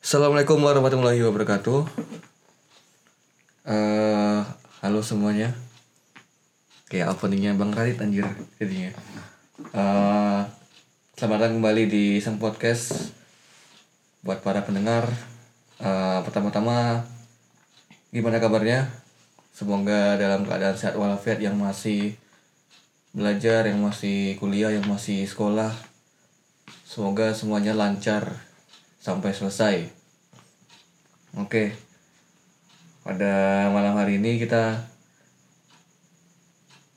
Assalamualaikum warahmatullahi wabarakatuh. Eh, halo semuanya. Kayak openingnya Bang Radit anjir jadinya. Eh, selamat datang kembali di Sang Podcast. Buat para pendengar, eh, pertama-tama gimana kabarnya? Semoga dalam keadaan sehat walafiat yang masih belajar, yang masih kuliah, yang masih sekolah. Semoga semuanya lancar sampai selesai. Oke. Pada malam hari ini kita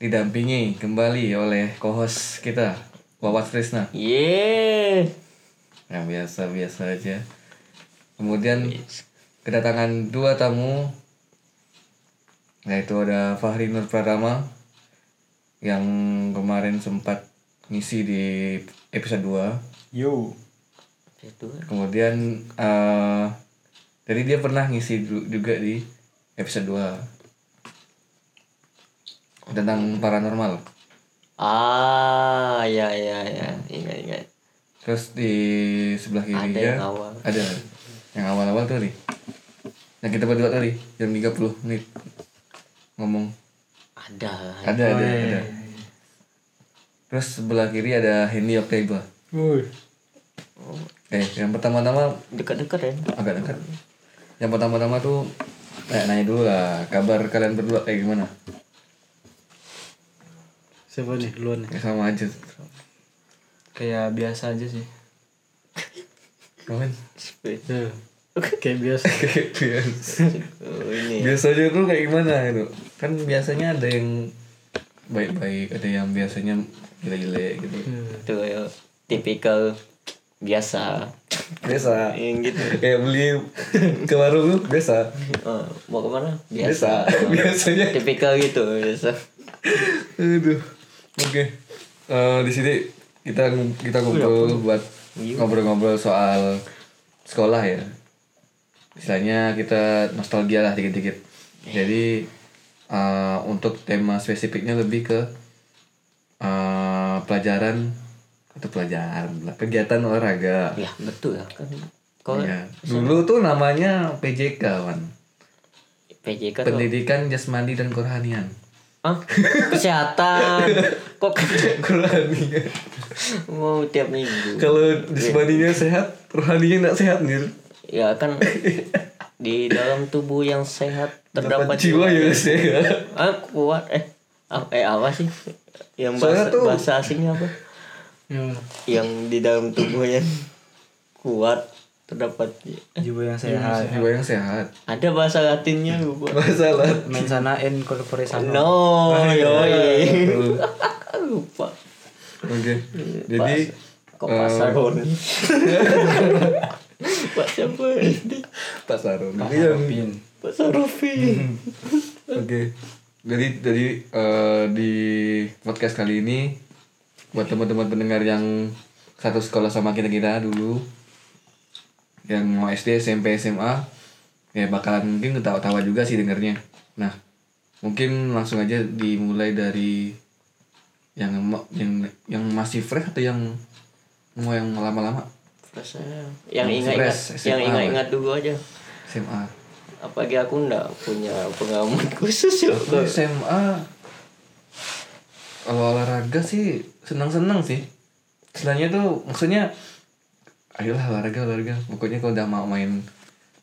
didampingi kembali oleh co-host kita, Wawat Krisna. Yeay. Yang biasa-biasa aja. Kemudian kedatangan dua tamu yaitu ada Fahri Nur Pratama yang kemarin sempat ngisi di episode 2. Yo, Itu Kemudian eh jadi dia pernah ngisi du- juga di episode 2 tentang paranormal. Ah, ya ya ya. Ingat ingat. Terus di sebelah kiri Ada dia yang awal. ada yang awal-awal tuh nih. Yang kita berdua tadi jam 30 menit ngomong Ada. ada ada ada. Terus sebelah kiri ada Hendy Octable. woi, Eh, yang pertama-tama Dekat-dekat kan. agak dekat. Yang pertama-tama tuh eh, nanya dulu lah kabar kalian berdua kayak gimana? siapa nih duluan nih? Ya, sama aja. Kayak biasa aja sih. Komen. Speed. Ya. Kayak biasa. Kayak biasa. Oh, ini. Biasanya tuh kayak gimana itu? Iya. Kan biasanya ada yang baik-baik, ada yang biasanya jelek-jelek gitu. Itu ya. Tipikal biasa. Biasa. Yang gitu. Iya. Kayak beli ke warung tuh biasa. Ah, mau kemana? Biasa. Biasa. Ah, Biasanya. Tipikal gitu biasa. Aduh. Oke. Eh, di sini kita kita kumpul buat ngobrol-ngobrol soal sekolah ya. Misalnya kita nostalgia lah dikit-dikit. Jadi eh, untuk tema spesifiknya lebih ke eh, pelajaran atau pelajaran pula, kegiatan olahraga. Ya betul ya kan. Kau Ya. Dulu tuh namanya PJK kan. PJK tuh. Pendidikan Jasmani dan Kerohanian. Ah, kesehatan. Kok kan Kerohanian. mau tiap minggu? Kalau jasmaninya sehat, rohaninya nggak sehat nih. Ya kan di dalam tubuh yang sehat Dapat terdapat jiwa ya. yang nggak sehat. Ah, kuat eh ah, eh apa sih? Yang bahasa, Soalnya tuh- bahasa asingnya apa? Ya, Yang di dalam tubuh yang kuat terdapat ji- eh, jiwa yang sehat. Jiwa yang sehat. ada bahasa Latinnya lupa. Masalah. Main sanain corpore sama. No, yoi. iya. Ah, lupa. Oke. Jadi Kok pasar Roni? Pak siapa ini? Pak Sarun. Jadi yang- Pak Sarofi. Oke. Jadi jadi eh, di podcast kali ini buat teman-teman pendengar yang satu sekolah sama kita kita dulu yang mau SD, SMP, SMA ya bakalan mungkin ketawa-tawa juga sih dengernya. Nah, mungkin langsung aja dimulai dari yang ma- yang yang masih fresh atau yang mau yang lama-lama Rasanya Yang yang ingat-ingat, fresh, yang SMA. ingat-ingat dulu aja. SMA. Apalagi aku ndak punya pengalaman khusus ya. Aku SMA kalau olahraga sih senang-senang sih. Selainnya tuh maksudnya ayolah olahraga olahraga. Pokoknya kalau udah mau main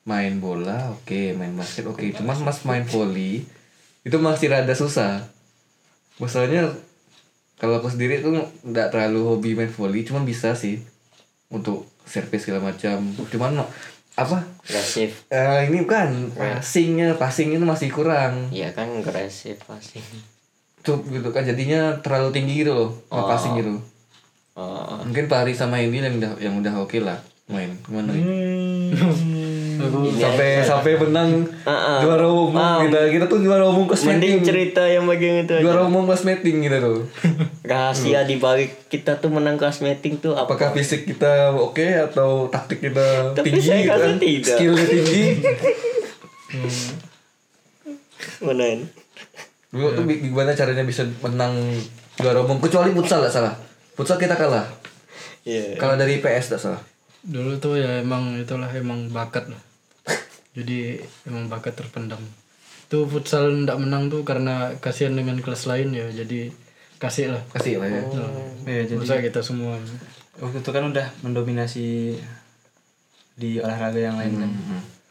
main bola, oke, main basket oke. Cuman Mas main volley itu masih rada susah. Masalahnya kalau aku sendiri tuh nggak terlalu hobi main volley, cuman bisa sih untuk servis segala macam. Cuman apa? Agresif. Eh, ini bukan passingnya, passingnya tuh masih kurang Iya kan agresif pasti. tuh gitu kan jadinya terlalu tinggi gitu loh oh. passing gitu Oh, mungkin Pari sama ini yang udah yang udah oke lah main Gitu. kemana Aku Hmm. sampai sampai menang Ah, ah. juara umum kita kita tuh juara umum kosmetik mending cerita yang bagian itu aja. juara umum kosmetik gitu tuh Rahasia di balik kita tuh menang kelas meeting tuh apa? apakah fisik kita oke atau taktik kita Tapi tinggi saya gitu rasa kan tidak. skillnya tinggi Menain. dulu tuh bi- gimana caranya bisa menang juara umum kecuali futsal nggak salah futsal kita kalah Iya. kalah dari PS nggak salah dulu tuh ya emang itulah emang bakat lah. jadi emang bakat terpendam tuh futsal ndak menang tuh karena kasihan dengan kelas lain ya jadi kasih lah Kasih lah ya. Oh. Iya, jadi Masa kita semua waktu itu kan udah mendominasi di olahraga yang lain kan.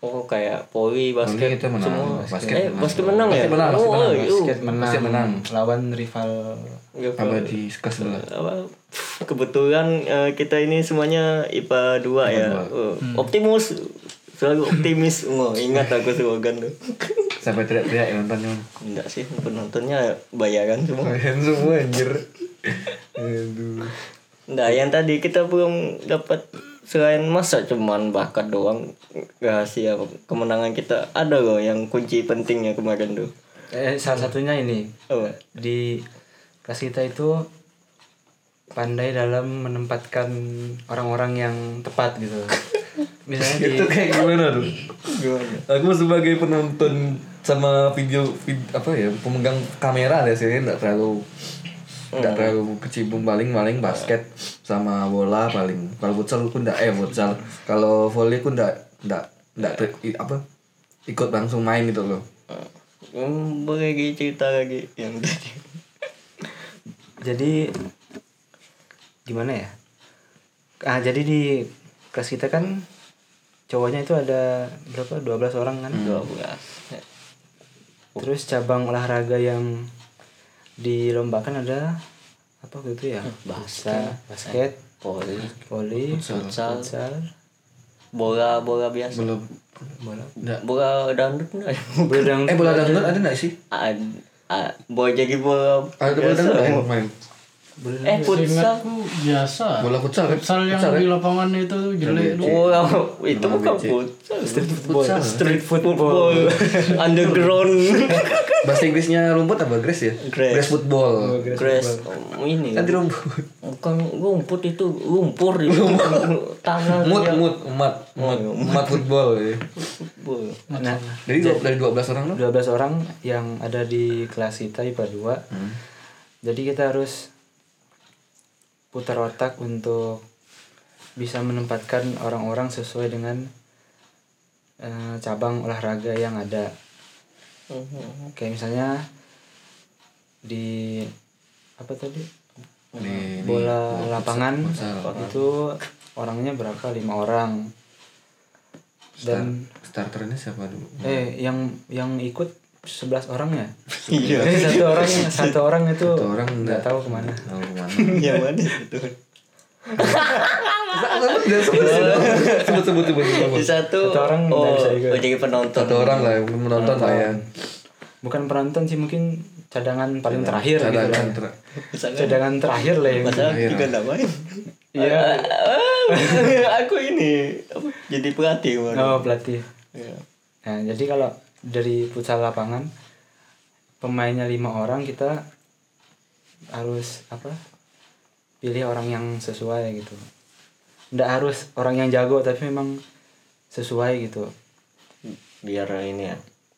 Oh kayak poli basket kita menang, semua. basket eh menang. basket menang ya? Basket menang, oh, basket menang, eh, Basket uh, menang, Pasti menang. lawan rival nggak apa- Tambah di kelas sebelah. Iya, apa, kebetulan eh, kita ini semuanya IPA 2 ya. Eh, Optimus selalu optimis. Wah, ingat aku slogan tuh. Sampai teriak-teriak yang nonton cuman. Enggak sih penontonnya bayaran semua. Kalian semua anjir. Aduh. Nah, yang tadi kita belum dapat selain masa cuman bakat doang rahasia kemenangan kita ada loh yang kunci pentingnya kemarin tuh. eh, salah satunya ini Apa? di kelas kita itu pandai dalam menempatkan orang-orang yang tepat gitu. Misalnya di Itu kayak gimana tuh? Gimana? Aku sebagai penonton sama video, vid- apa ya pemegang kamera deh sini nggak terlalu nggak terlalu kecimpung paling paling basket sama bola paling kalau futsal aku nggak eh futsal kalau volley aku nggak nggak nggak ter- i- apa ikut langsung main gitu loh Hmm, boleh lagi cerita lagi yang tadi. jadi gimana ya ah jadi di kelas kita kan cowoknya itu ada berapa 12 orang kan 12. terus cabang olahraga yang dilombakan ada apa gitu ya basket basket Poli, voli futsal, futsal bola bola biasa. belum bola Bola dangdut enggak? bola dangdut eh bola dangdut ada nggak sih Iya, Ad, ad, bola jadi bola. ada bola dangdut nggak yang main bola Eh futsal. Seingatku biasa Bola futsal, kan? futsal yang Futsal, di lapangan itu jelek tuh. Bola itu bukan futsal. futsal Street football, underground, bahasa Inggrisnya rumput apa grass ya Grass. grass football grass. Oh, ini nanti rumput bukan rumput itu lumpur itu tanah mut mut umat Oh, umat iya. umat football ya. football. nah dari dua- dari 12 orang loh 12 orang yang ada di kelas kita IPA 2 jadi kita harus putar otak untuk bisa menempatkan orang-orang sesuai dengan eh, cabang olahraga yang ada Uh-huh. kayak misalnya di apa tadi Oh, di iya. bola lapangan itu orangnya berapa lima orang dan starternya siapa dulu eh yang yang ikut 11 orang ya Jadi satu orang satu orang itu Satu orang nggak tahu kemana tahu kemana Yang mana itu? sebut sebut sebut sebut Di sebut satu, Satu orang nggak oh, bisa ikut. oh, jadi penonton. satu orang lah yang menonton lah ya bukan penonton sih mungkin cadangan paling terakhir gitu cadangan lah. ter- Misalnya, cadangan terakhir lah yang masalah juga nggak main. Iya. gitu? Ah, aku ini apa, jadi pelatih kemarin. oh pelatih Iya. nah jadi kalau dari futsal lapangan pemainnya lima orang kita harus apa pilih orang yang sesuai gitu nggak harus orang yang jago tapi memang sesuai gitu Biar ini ya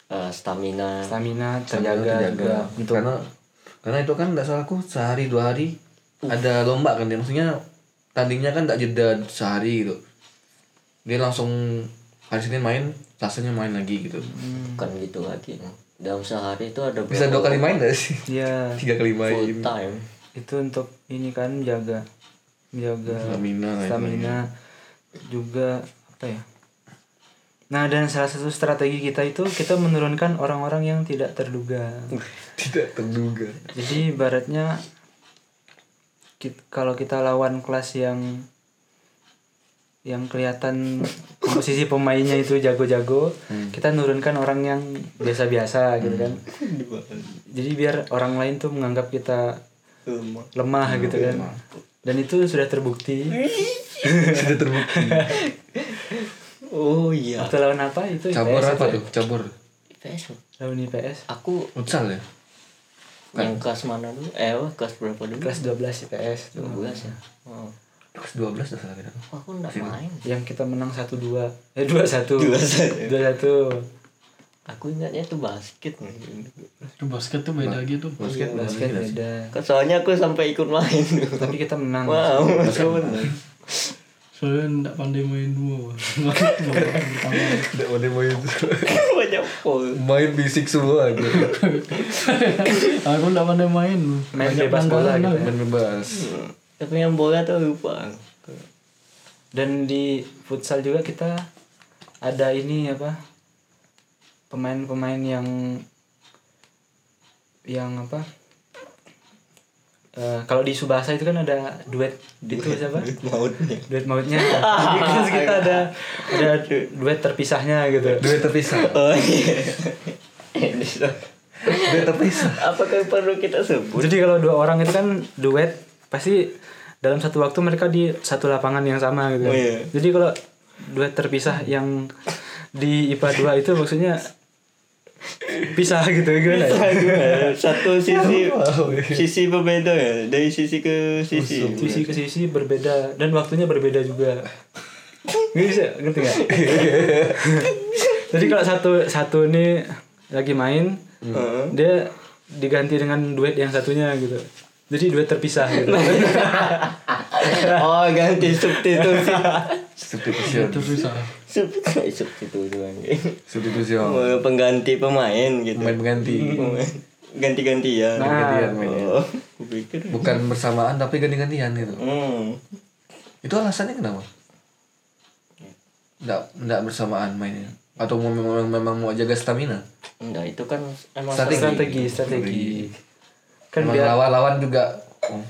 eh, stamina. stamina Sambil terjaga, juga Gitu. terjaga. untuk karena karena itu kan nggak salahku sehari dua hari ada lomba kan dia maksudnya tandingnya kan nggak jeda sehari gitu dia langsung hari senin main rasanya main lagi gitu Bukan gitu lagi. Dalam sehari itu ada bisa dua kali main nggak sih ya tiga kali main full time. itu untuk ini kan menjaga menjaga Stamina lah stamina juga apa ya nah dan salah satu strategi kita itu kita menurunkan orang-orang yang tidak terduga tidak terduga jadi ibaratnya kit- kalau kita lawan kelas yang yang kelihatan komposisi pemainnya itu jago-jago Hmm. kita nurunkan orang yang biasa-biasa gitu kan Hmm. jadi biar orang lain tuh menganggap kita Rumah. lemah gitu kan dan itu sudah terbukti sudah terbukti Oh iya. waktu lawan apa itu cabur IPS apa tuh cabur IPS. lawan IPS Aku futsal ya yang kelas mana dulu? Eh, apa, kelas berapa dulu? kelas 12 IPS tuh 12 ya. Oh. kelas dua belas dah salah tidak Aku enggak main. yang kita menang 1-2 eh 2-1 2-1. 2-1 Aku ingatnya itu basket. Itu basket tuh Nah. beda gitu. basket basket beda Soalnya aku sampai ikut main. tapi kita menang Wow. basket Soalnya nggak pandai main dua. Tidak boleh main banyak pol main bisik semua aja. Aku nggak pandai main. Main Banyak ya? bebas bola pelanggaran gitu lah. Main bebas. tapi yang bola tuh lupa Dan di futsal juga kita ada ini apa? Pemain-pemain yang yang apa? Eh, kalau di Subasa itu kan ada duet, itu siapa? mautnya Duet mautnya. Terus kita Iya kan, ada ada duet terpisahnya gitu. Duit terpisah. oh iya Ini so- Duit terpisah. apakah perlu kita sebut Jadi kalau dua orang itu kan duet pasti dalam satu waktu mereka di satu lapangan yang sama gitu. Oh, iya. Jadi kalau duet terpisah yang di IPA 2 itu maksudnya pisah gitu gimana? ya? satu sisi Oh, sisi berbeda ya dari sisi ke sisi iya. Sisi ke sisi berbeda dan waktunya berbeda juga. Nggak bisa, ngerti nggak? Jadi kalau satu satu ini lagi main, Heeh. dia diganti dengan duet yang satunya gitu. Jadi duet terpisah gitu. oh ganti substitusi Substitution. Itu susah. Sub- substitusi lagi Substitution. Oh, pengganti pemain gitu Main pengganti. ya, Pemain. ganti-gantian iya. Nah, Gantian mainnya. oh aku pikir Bukan bersamaan tapi ganti-gantian gitu. hmm. Itu alasannya kenapa? Nggak, nggak bersamaan mainnya. Atau mau- memang, memang mau jaga stamina. enggak itu kan emang Strategi. strategi strategi kan Emang biar lawan-lawan juga oh,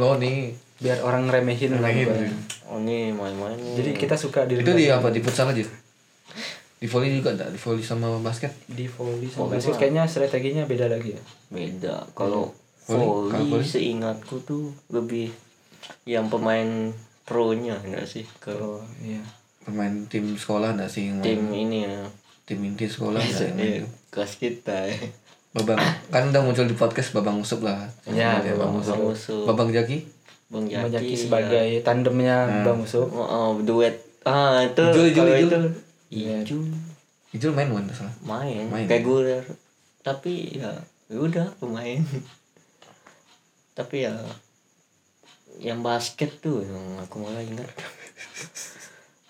lo nih. biar orang ngeremehin lah Gitu. pokoknya. oh ini main-main nih. jadi kita suka di Itu di apa? Di futsal aja. Di volley juga enggak? Di volley sama basket? di volley sama basket kayaknya strateginya beda lagi ya beda kalau Volley, kalau volley volley? seingatku tuh lebih yang pemain pro nya enggak sih kalau iya Pemain tim sekolah enggak sih? yang main? tim ini ya Tim inti sekolah enggak yang main Iya, Hmm. itu? kelas kita ya. Babang kan udah muncul di podcast Babang Usup lah. Iya, Semuanya, Babang Bang Usup, Babang Jaki? Bang Jaki, Menjaki ya. sebagai tandemnya bang Usup oh, oh, duet ah itu Ijul, Ijul, kalau Ijul. itu Iya. Iya, Ijul Itu main bukan nggak salah. main, Main. reguler tapi ya ya udah pemain tapi ya yang basket tuh yang aku malah ingat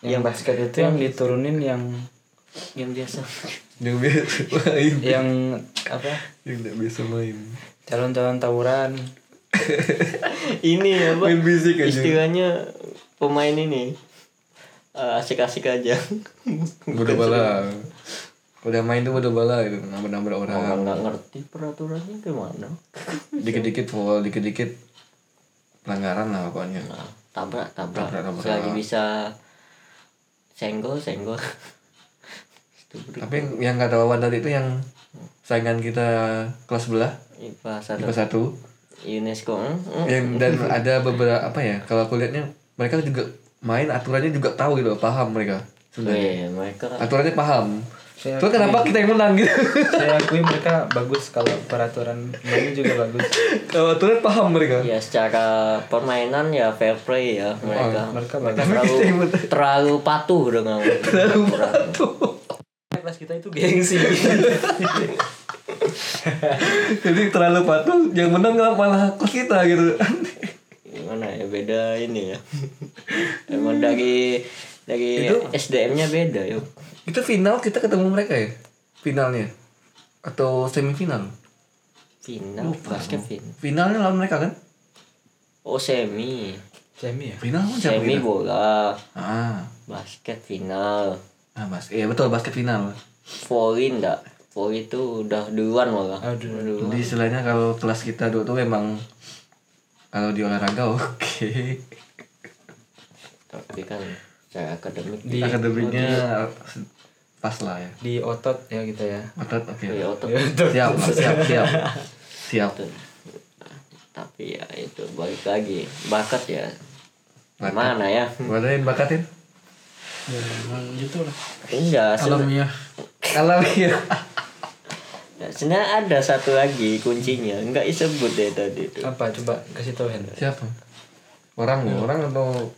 yang basket itu yang diturunin yang yang biasa Yang biasa main. iya. yang apa Yang enggak biasa main. calon-calon tawuran ini apa Main bisik aja. istilahnya pemain ini eh, asik-asik aja Bodoh bala. Udah main tuh bodoh bala gitu, nambah-nambah orang. orang nggak ngerti peraturannya gimana Dikit-dikit foul, dikit-dikit pelanggaran lah pokoknya. Nah, tabrak tabrak Tabrak, tabrak. selagi bisa senggol senggol itu Tapi yang- yang kata lawan tadi itu yang saingan kita kelas sebelah IPA satu tipe satu UNESCO hmm? Hmm. yang dan ada beberapa apa ya kalau aku lihatnya mereka juga main aturannya juga tahu gitu paham mereka sebenarnya Weh, mereka aturannya paham Saya- terus kenapa kita yang menang gitu saya akui mereka bagus kalau peraturan ini juga bagus kalau aturan paham mereka ya secara permainan ya fair play ya mereka mereka Mereka bagus terlalu terlalu patuh dengan terlalu kelas kita itu gengsi jadi terlalu patuh yang menang malah- malah kos kita gitu gimana ya beda ini ya emang dari dari SDM-nya beda yuk itu final kita ketemu mereka ya finalnya atau semifinal final basket final finalnya lawan mereka kan oh semi Jamie ya final lawan siapa semi kita? bola ah basket final ah bas iya betul basket final volley enggak volley itu udah duluan malah aduh Jadi istilahnya kalau kelas kita dulu tuh emang kalau di olahraga oke. tapi kan saya akademik Di akademiknya pas lah ya. di otot ya kita ya Otot oke. ya otot Siap, siap, siap. Siap. tapi ya itu balik lagi bakat ya Bakat. mana ya Madain bakatin. Ya emang gitu lah. ya, enggak seben- Alamiah. Kalau iya. sebenarnya ada satu lagi kuncinya enggak disebut deh tadi itu apa coba kasih tahu Hendra Siapa? Orang, orang atau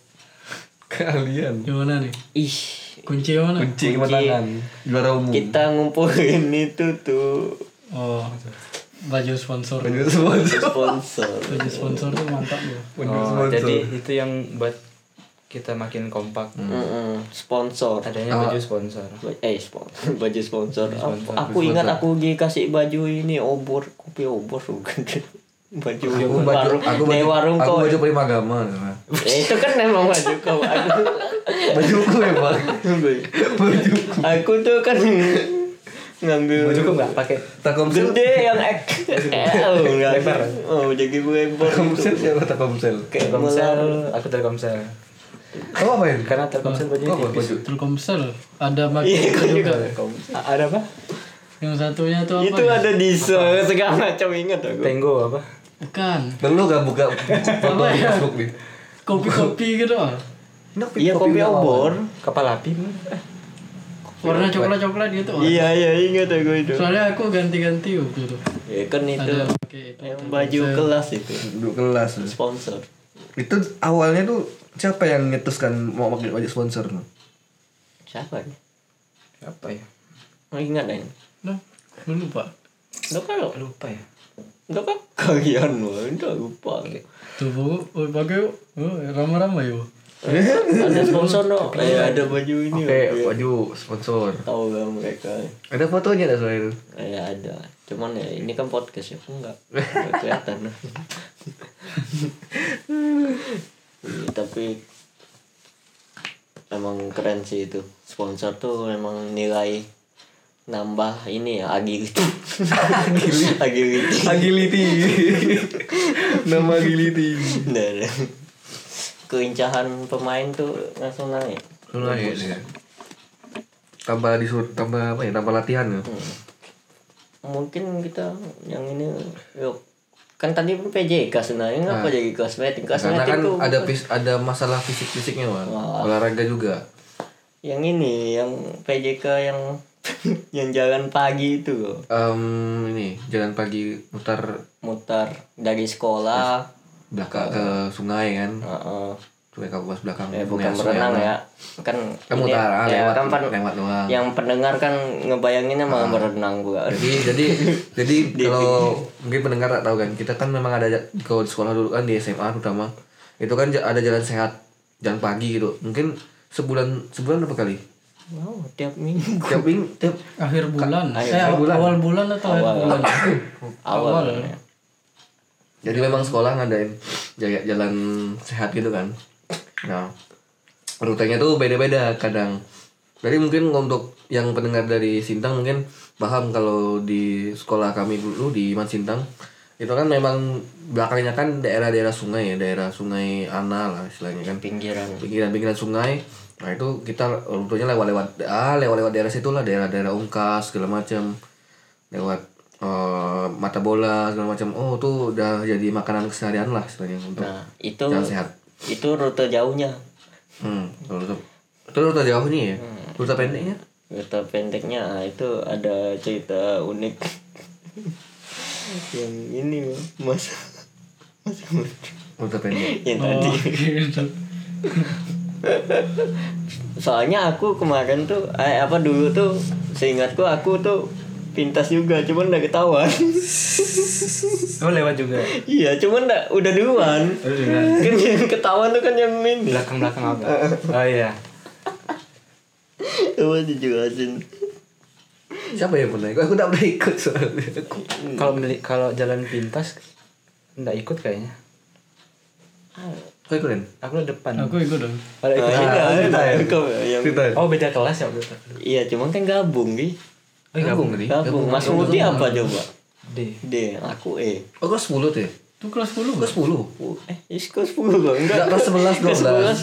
kalian? Gimana nih? ih Kunci yang mana? Kunci kemenangan juara umum. kita ngumpulin itu tuh Oh. Baju sponsor. Baju sponsor. sponsor Baju sponsor tuh mantap ya. Baju Oh, sponsor. jadi itu yang buat kita makin kompak Hmm. Mm-mm. sponsor adanya Ah. baju sponsor Ba- eh sponsor baju sponsor Aku- aku ingat aku dikasih baju ini obor kopi obor bukan baju Aku baju, warung aku Nih, baju, warung aku kau baju primagama. sama. Eh, itu kan emang baju kau Bajuku ya bang. baju aku tuh kan ngambil bajuku nggak pakai Takomsel. gede yang ek oh, nggak- Lebar. oh jadi gue lebar Takomsel gitu. siapa Takomsel? kayak telkomsel melar aku telkomsel Kamu Kan apain? karena Ah. telkomsel bajunya Oh, Kau apa tipis baju? Telkomsel ada pakai Iya, itu kau juga. juga. A- ada apa Yang satunya tuh apa? itu ya? ada di se- segala macam ingat aku tenggo apa Bukan. Belum gak kan buka foto di Facebook nih. Kopi-kopi gitu. ah. iya kopi obor kepala pim Warna coklat-coklat gitu. ah. iya iya ingat aku itu Soalnya aku ganti-ganti waktu itu. ya kan itu Ada pakai itu. yang baju kelas itu Duduk kelas. sponsor Itu awalnya tuh siapa yang nyetuskan mau pakai baju sponsor? tuh? siapa nih apa ya Oh, ingat nih Nah, aku lupa. Udah kalau lupa ya Udah kan kalian loh, udah lupa. Tuh bu, oh, pakai yuk. Oh, ramai-ramai yuk. Ada sponsor no, eh, ada baju ini. Pakai loh. baju sponsor. Tahu gak mereka? Iya. Ada fotonya gak soalnya itu? Eh ada, cuman ya ini kan podcast ya, aku nggak nggak kelihatan. Iya, tapi emang keren sih itu sponsor tuh emang nilai nambah ini ya agility agility Agility. Nama agility. Nah, nah. keincahan pemain tuh langsung naik Lu ya, ya. Tambah disuruh tambah apa ya? Tambah latihan ya. mungkin kita yang ini yuk kan tadi pun PJK sebenarnya ngapa jadi kosmetik Nah. Karena kosmetik kan tuh ada fis- ada masalah fisik-fisiknya, Bang. Olahraga juga. yang ini yang PJK yang yang jalan pagi itu loh. Em, ini jalan pagi mutar mutar dari sekolah belakang ke sungai kan. Heeh. Sungai Kapuas belakang. eh sungai bukan Asu berenang ya kan Kan mutar, ah, ya, lewat, kan pen- lewat doang. Ah. yang pendengar kan ngebayanginnya mah berenang gua Jadi jadi jadi kalau mungkin pendengar tak tahu kan, kita kan memang ada ja- kalau di sekolah dulu kan di SMA terutama itu kan ja- ada jalan sehat, jalan pagi gitu. Mungkin sebulan sebulan berapa kali? wow tiap minggu Tiap ming- tiap Akhir bulan. Akhir eh, awal bulan. bulan. atau akhir bulan? awal, Awal. ya. Jadi memang sekolah ngadain jaya- jalan sehat gitu kan. Nah, rutenya tuh beda-beda kadang. Jadi mungkin untuk yang pendengar dari Sintang mungkin paham kalau di sekolah kami dulu di Man Sintang itu kan memang belakangnya kan daerah-daerah sungai ya, daerah sungai Ana lah istilahnya kan pinggiran pinggiran-pinggiran sungai nah itu kita rutenya lewat-lewat ah lewat-lewat daerah situlah daerah-daerah ungkas segala macam lewat eh, mata bola segala macam oh tuh udah jadi makanan keseharian lah istilahnya untuk nah itu jalan sehat itu rute jauhnya hmm kalau itu itu rute jauh nih ya rute pendeknya Cerita pendeknya ah, itu ada cerita unik yang ini loh, mas mas rute pendek yang Oh, tadi gitu. soalnya aku kemarin tuh eh, apa dulu tuh seingatku aku tuh pintas juga cuman udah ketahuan oh lewat juga iya cuman udah udah duluan kan yang ketahuan tuh kan yang ini belakang belakang apa oh iya coba dijelasin siapa yang pernah ikut aku tidak pernah ikut soalnya aku kalau beli kalau jalan pintas nggak ikut kayaknya kau ikutin aku udah depan Aku ikut dong. Ada ikut. Ah, Ah, ini cerita dah, ya? kau eh, yang cerita oh beda kelas ya waktu itu. iya cuman kan gabung di eh gabung tadi gabung mas Mudi apa coba D D aku E oh kelas sepuluh tuh ya? Itu kelas 10 kelas sepuluh Oh, eh is kelas 10 bang enggak Enggak, kelas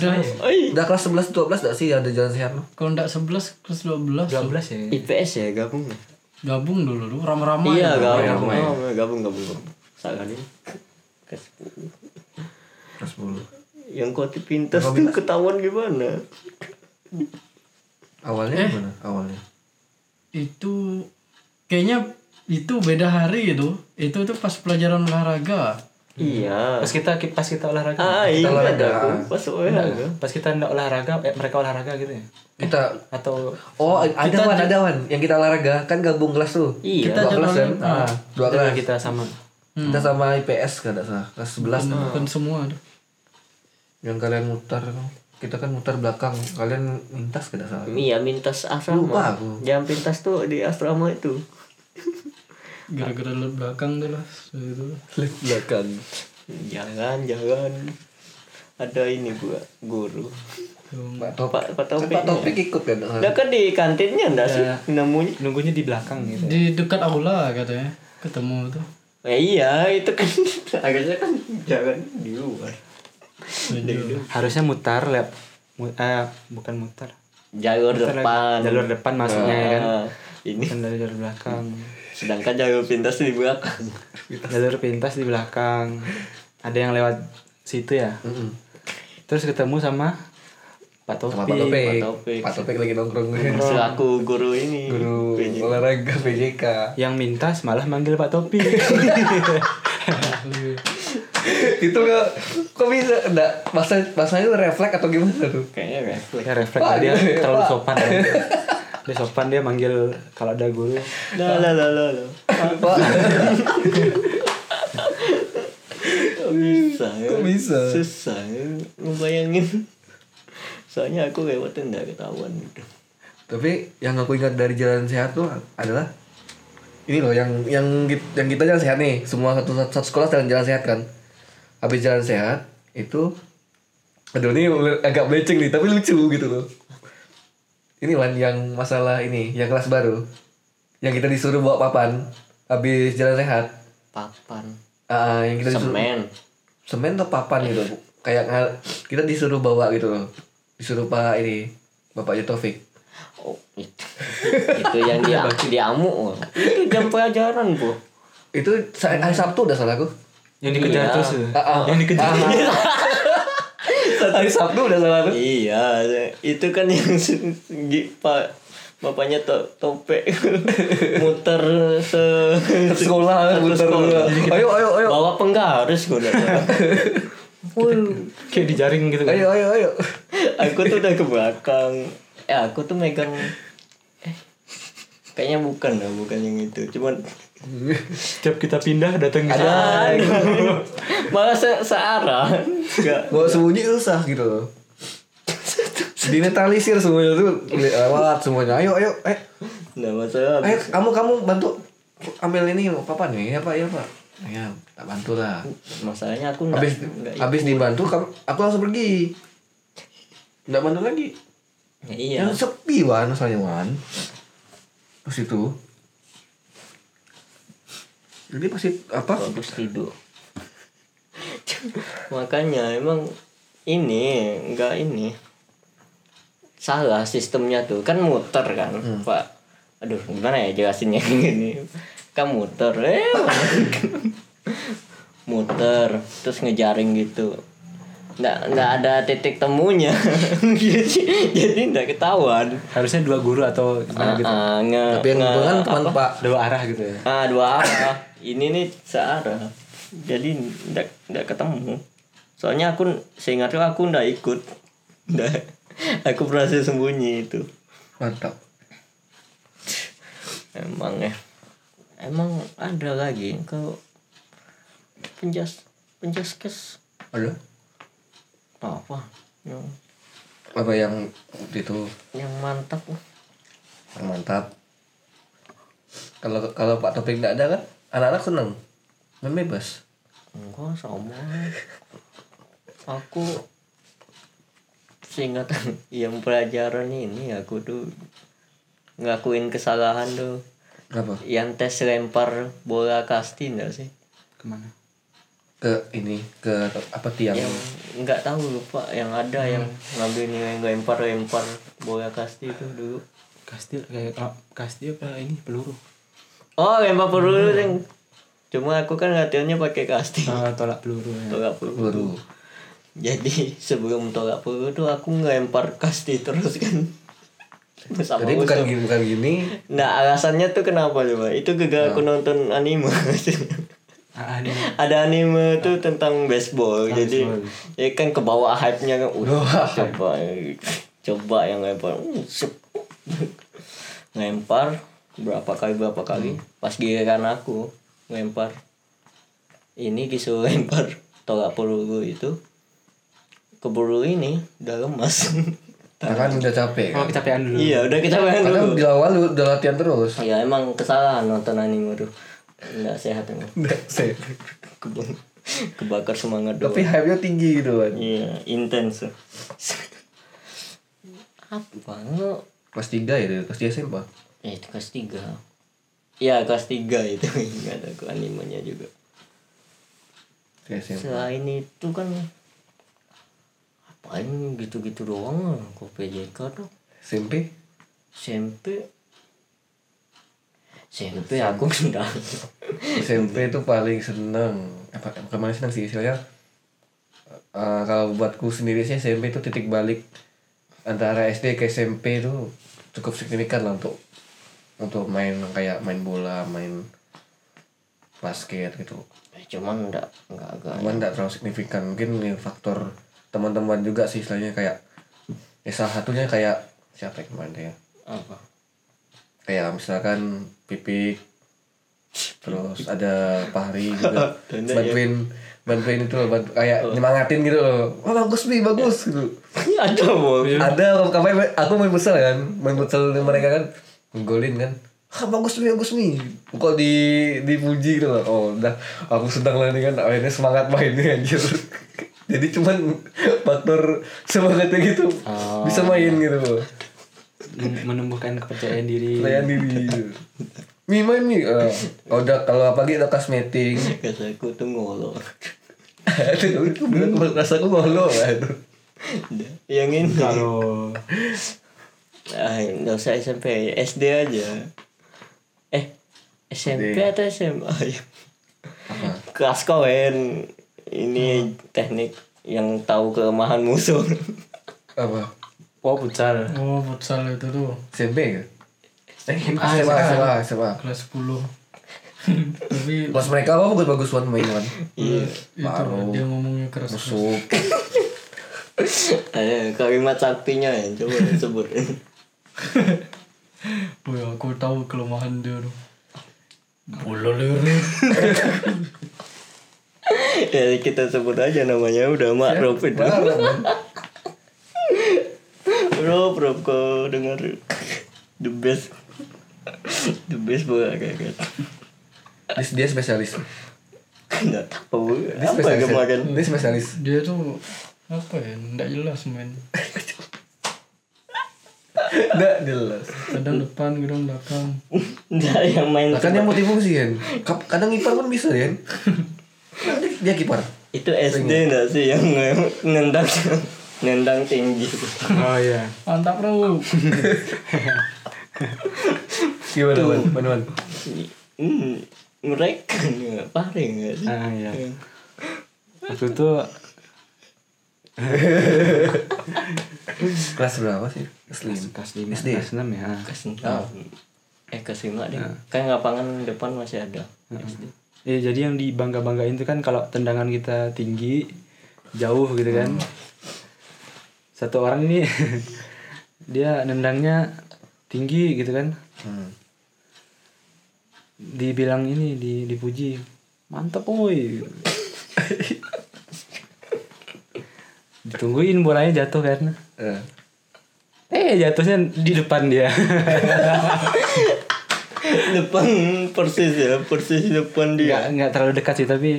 11, 12. 11 oh iya. udah kelas sebelas dua belas tidak sih ada jalan sehat mah? Kalau enggak 11 kelas 12. dua tuh. belas ya IPS ya gabung Gabung dulu tuh ramai-ramai. iya ya, gabung ramai. Oh, gabung gabung gabung salah nih kelas 10 kelas sepuluh yang kau tuh pintas tuh ketahuan gimana awalnya gimana awalnya Itu kayaknya itu beda hari itu. Itu tuh pas pelajaran olahraga. iya pas kita pas kita olahraga ah iya olahraga. ada aku pas olahraga pas kita ndak olahraga eh, mereka olahraga gitu ya kita atau Oh, ada wan, ada wan yang kita olahraga kan gabung kelas tuh. Iya. Kita dua kelas kan? Ah, dua kelas. Kita- Kita, Hmm. kita sama sama IPS kan enggak salah. Kelas 11 Bukan semua tuh. yang kalian mutar kan. kita kan muter belakang kalian lintas ke dasar Iya mintas asrama. Lupa aku. Jam pintas tuh di asrama itu. gara-gara lewat belakang tuh lah setelah itu belakang Jangan jangan. Ada ini gua guru. Yang Hmm, Pak Topik Pak Pak Taufik. Pak Topik ikut kan nggak salah? Lah kan di kantinnya enggak sih nemunya? nunggunya di belakang gitu di dekat aula katanya ketemu tuh Ya iya itu kan akhirnya kan jangan di luar. tujuh harusnya mutar lep mu- eh, bukan mutar Jalur Mutar lagi. depan. jalur depan maksudnya ya kan Ah, ini bukan dari jalur belakang sedangkan jalur pintas di belakang. jalur pintas di belakang ada yang lewat situ ya Mm-mm. terus ketemu sama Pak sama Topi Pak Topik Pak Topik. Pak Topik lagi nongkrong Selaku guru ini. guru PJ. olahraga PJK yang mintas malah manggil Pak Topi itu kok kok bisa enggak masa masanya itu refleks atau gimana tuh Kayaknya refleks. ya refleks lah, dia terlalu sopan ya. dia sopan dia manggil kalau ada guru Lah lah lah lah. lah. Pak, Kok bisa ya? Kok bisa? Susah ya ngebayangin. Soalnya aku lewatin nggak ketahuan gitu. tapi yang aku ingat dari jalan sehat tuh adalah ini loh yang yang git- yang kita jalan sehat nih semua satu satu, satu sekolah jalan jalan sehat kan habis jalan sehat itu aduh ini agak beleceng nih tapi lucu gitu loh ini Wan yang masalah ini yang kelas baru yang kita disuruh bawa papan habis jalan sehat Papan, Ah, yang kita disuruh semen, semen atau papan gitu kayak ngal- kita disuruh bawa gitu loh disuruh pak ini bapaknya Taufik oh itu, itu yang Iya, dia diamu. Itu jam pelajaran bu. itu sa- hari Sabtu udah salah aku yang dikejar Iya. terus tuh. Ah, ah. Hmm. yang dikejar Iya. hari Sabtu udah salah aku Iya, itu kan yang si- si- pak bapaknya to topek muter se Ke sekolah satu muter sekolah. dulu. ayo ayo ayo bawa penggaris gue udah tahu. Wuh. kayak dijaring gitu ayo ayo ayo aku tuh udah ke belakang eh aku tuh megang eh, kayaknya bukan lah bukan yang itu cuman setiap kita pindah datang Ya, ke sana aduh, malah se searah nggak bawa sembunyi susah gitu loh Dinetalisir semuanya tuh lewat semuanya ayo ayo eh nggak masalah ayo kamu kamu bantu ambil ini papan ya apa ya pak ya tak bantu lah masalahnya aku nggak habis nggak- habis dibantu kamu aku langsung pergi nggak bantu lagi Ya, iya yang sepi wan soalnya wan pas itu jadi pasti apa bagus tidur makanya emang ini nggak ini salah sistemnya tuh kan muter kan pak aduh gimana ya jelasinnya ini kan muter eh muter terus ngejaring gitu nggak nggak ada titik temunya Jadi- jadi nggak ketahuan harusnya dua guru atau gimana gitu Ah, ah, nge- tapi yang nge- bukan teman pak dua arah gitu ya Ah dua arah. Ini nih searah. Jadi ndak ndak ketemu. Soalnya aku seingatku aku ndak ikut. Ndak. Aku berhasil sembunyi itu. mantap Emang ya. Emang ada lagi kalau penjas penjaskes ada apa yang apa yang itu yang mantap yang mantap kalau kalau pak topik tidak ada kan anak-anak seneng main bebas enggak sama aku seingat yang pelajaran ini aku tuh ngakuin kesalahan tuh kenapa yang tes lempar bola kasti enggak sih kemana ke ini ke apa tiang yang nggak tahu lupa yang ada yang ngambil nilai lempar lempar bola kasti itu dulu kastil kayak oh, kastil apa ini peluru oh lempar peluru yang cuma aku kan latihannya pakai kasti Ah, tolak peluru ya. tolak peluru baru jadi sebelum tolak peluru tuh aku ngelempar kasti terus kan sama jadi bukan Usop. gini bukan gini Nah alasannya tuh kenapa coba? Itu gara aku nonton anime. Ah, ini. Ada anime tuh tentang baseball, jadi ya kan ke bawah hype-nya kan. Uh, coba coba yang lempar. Uh, sep. lempar berapa kali berapa kali pas giliran aku lempar ini disuruh lempar tolak peluru itu keburu ini udah lemas Nah, kan udah capek Oh, kan. kecapean dulu. iya udah kita main dulu Padahal di awal lu udah latihan terus. ya emang kesalahan nonton anime tuh nggak sehat emang Kebun- kebakar semangat doang Tapi hype-nya tinggi gitu kan. iya intens apa lu Kelas 3 ya, kelas 3 SMA. ya itu kelas tiga ya kelas tiga itu ingat aku animenya juga Kelas SMA. selain itu kan apain gitu-gitu doang kok PJK tuh SMP? SMP SMP aku enggak SMP itu paling seneng apa bukan paling seneng sih istilahnya eh, kalau buatku sendiri sih SMP itu titik balik antara SD ke SMP itu cukup signifikan lah untuk untuk main kayak main bola main basket gitu Eh, cuman enggak enggak agak cuman nggak terlalu signifikan mungkin ini faktor teman-teman juga sih istilahnya kayak ya salah satunya kayak siapa ya kemarin ya apa kayak misalkan pipik terus ada Fahri juga Tanda ya. bantuin bantuin itu loh, bantu, kayak nyemangatin gitu loh oh, bagus nih bagus gitu ada mau ada orang kamar main- aku main futsal kan main futsal dengan mereka kan golin kan ah bagus nih bagus nih kok di dipuji gitu loh oh udah aku sedang lah nih kan akhirnya semangat mainnya anjir jadi cuman faktor semangatnya gitu bisa main gitu loh Men- menumbuhkan kepercayaan diri Layan diri Mi main mi eh, udah kalau gitu, pagi ada kas meeting kata aku tuh ngolor Aduh, itu bener bener rasa aku ngolo aduh. yang ini kalau ah nggak usah SMP SD aja eh SMP SD. atau SMA ya Apa? kelas kawan ini teknik yang tahu kelemahan musuh Apa? wow pucal oh futsal itu tuh SMP ya? Eh, SMA, SMA, SMA, SMA. kelas 10 tapi Pas mereka apa bagus-bagus one main one. eh, itu Baru. dia ngomongnya keras Busuk. ada kalimat saktinya ya coba sebut Woi, aku tahu kelemahan dia tuh. Bola lirik. ya kita sebut aja namanya udah makruf itu Benar, kan? bro bro kau dengar the best the best buat kayak gitu. Dia, dia spesialis. nggak tahu Dia apa spesialis. kemarin Dia spesialis. Dia tuh apa ya? Nggak jelas men. Enggak jelas. Kadang depan, kadang belakang. nggak yang main Nah, kan yang multifungsi kan. Kap- Kadang ipar pun bisa kan. Dia kiper. itu SD nggak sih yang nendang nendang tinggi oh iya Mantap bro. Gimana, Wan? Mana, Wan? hmm, mereka nggak pare nggak sih ah iya waktu itu Kelas berapa sih? Kelas lima. kelas lima SD. kelas enam ya kasih eh kasih deh kan lapangan depan masih ada SD Eh, jadi yang dibangga-banggain itu kan kalau tendangan kita tinggi, jauh gitu kan. Satu orang ini dia nendangnya tinggi gitu kan. Hmm. Dibilang ini di dipuji. Mantap woi. gitu. Ditungguin bolanya jatuh kan. Eh. Eh jatuhnya di depan dia. depan persis ya persis depan dia Enggak enggak terlalu dekat sih tapi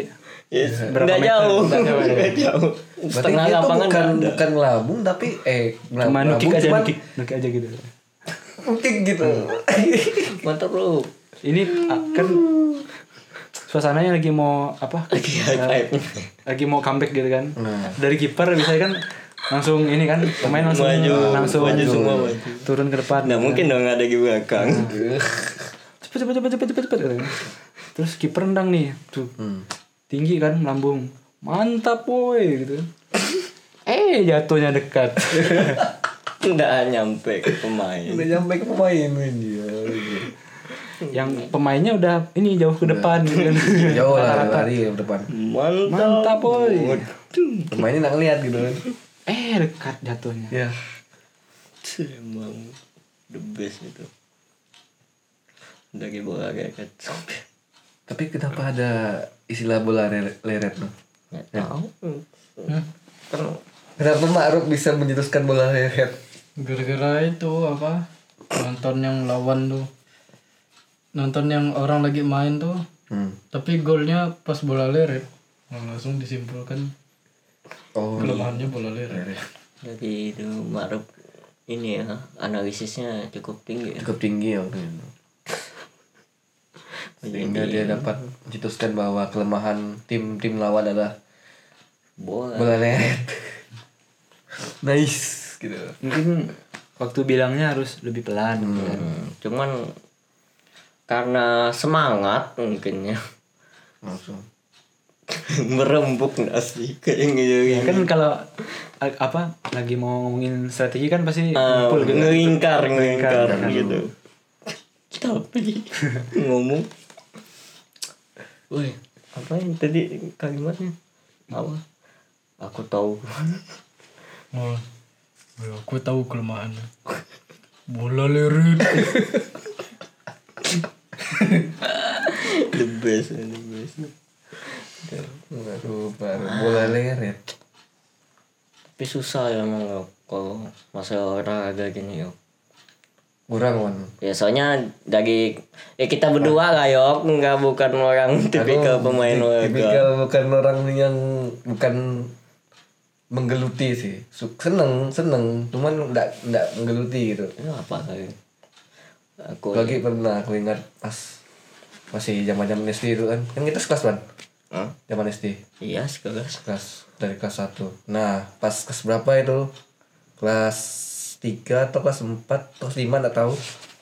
Yes, Iya. Berapa nggak meter? jauh, Nggak jauh, ya? nggak jauh. Berarti Setengah dia tuh lapangan bukan nggak ada. bukan labung tapi eh cuma labung nukik aja cuman nukik, nukik aja gitu. nukik gitu. Mantap bro. Ini ah, kan suasananya lagi mau apa? Eh, Lagi high five. Lagi mau comeback gitu kan. Nah. Dari kiper misalnya kan langsung ini kan pemain langsung Maju, langsung maju semua maju. Nah. turun ke depan. Nggak mungkin dong ada di belakang. Cepet cepet cepet cepet cepet gitu kan. Terus kiper nendang nih tuh. Tinggi kan lambung. Mantap woi gitu. kan. eh jatuhnya dekat. Hmm. Nggak nyampe ke pemain. Udah nyampe ke pemain ya. dia. Yang pemainnya udah ini jauh ke depan gitu kan. Jauh lah lari ke depan. Mantap. Mantap woi. Pemainnya nggak ngeliat gitu kan. Eh dekat jatuhnya. Ya. Emang the best itu. Dari bola kayak kacau. Tapi kenapa Ya. ada istilah bola le- leret tuh? Nggak tahu. Hah? Kan Kenapa Ma'ruf bisa menjerumuskan bola head? gara-gara itu apa nonton yang lawan tuh nonton yang orang lagi main tuh Hmm. tapi golnya pas bola leret Nah, langsung disimpulkan Oh, kelemahannya bola leret Jadi itu Ma'ruf ini ya analisisnya cukup tinggi ya. cukup tinggi ya waktu itu. Sehingga dia dapat mencetuskan bahwa kelemahan tim-tim lawan adalah Bola. bola leret. nice gitu. mungkin waktu bilangnya harus lebih pelan gitu Hmm. kan. Cuman karena semangat ya. mungkinnya Langsung. merembuk nggak sih kayak gitu kan kalau a- apa lagi mau ngomongin strategi kan pasti Ah, ngumpul gitu ngelingkar ngelingkar Ngelingkar. gitu kan. tapi ngomong woi apa yang tadi kalimatnya apa aku tahu oh ya, aku tahu kelemahannya bola leret the best the best Baru baru bola leret. tapi susah ya emang ya, kalau masalah olahraga gini yuk Kurang wan. ya soalnya dari ya kita berdua lah yok nggak bukan orang tipikal Aku pemain ti- olahraga Tipikal bukan orang yang bukan menggeluti sih. Su- Seneng, seneng, cuman enggak enggak menggeluti gitu. Ya, apa kali aku Lagi pernah aku ingat pas masih zaman-zaman SD itu kan. Kan kita sekelas, Wan. Hah? Zaman SD. iya sekelas Kelas dari kelas 1. Nah, pas kelas berapa itu? Kelas 3 atau kelas 4 atau kelas 5 enggak tahu.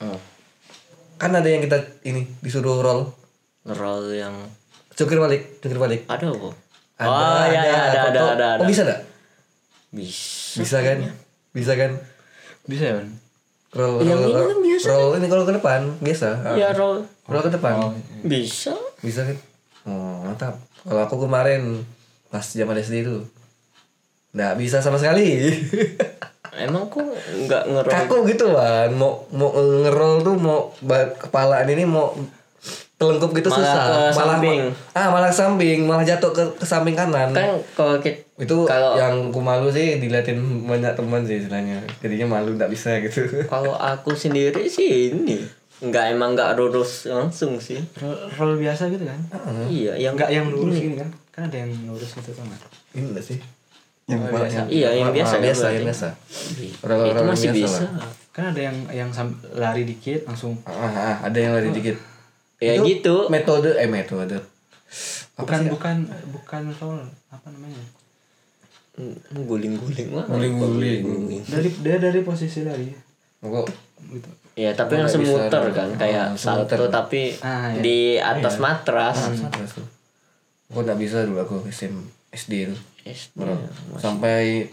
oh, Kan ada yang kita ini disuruh roll. ngerol yang Cungkir balik, cungkir balik. Ada kok. Ada, oh iya iya, ada ada foto. ada ada. Oh, bisa enggak? Bisa. Bisa kan? Iya. Bisa kan? bisa ya Wan? Roll, roll, Yang ini roll, kan biasa roll ini kalau ke depan biasa. Ah. Ya roll. Roll ke depan. Oh, iya. Bisa. Bisa kan? Oh, mantap. Kalau aku kemarin pas zaman SD itu nggak bisa sama sekali. Emang kok nggak ngerol. Kaku gitu kan. Mau mau ngerol tuh mau ba- kepalaan ini mau telengkup gitu susah. Malah ke samping. ah malah ke samping, malah jatuh ke, ke samping kanan. Kan kalau kita itu kalau yang ku malu sih diliatin banyak teman sih istilahnya. Jadinya malu nggak bisa gitu. kalau aku sendiri sih ini nggak emang nggak lurus langsung sih. roll, roll biasa gitu kan Iya, yang nggak yang lurus gini kan kan ada yang lurus gitu kan ini enggak sih? Yang biasa. Iya, yang biasa kan biasa, yang berarti. biasa. Roll- itu roll masih biasa bisa. lah. kan ada yang yang sam- lari dikit langsung Ah, ah, ah, ada yang lari dikit. Ya Itu gitu. Metode eh metode. Ah, bukan bukan bukan roll apa namanya Hmm, Guling-guling lah. Guling-guling. dari dia dari posisi lari Kok gitu Ya, tapi Nggak langsung bisa muter roll. kan Ah, kayak langsung salto muter. tapi Ah, iya. di atas matras. Ah, Iya. terus tuh. Kok enggak bisa dulu aku SM SD itu. Yes. iya. Bro. Sampai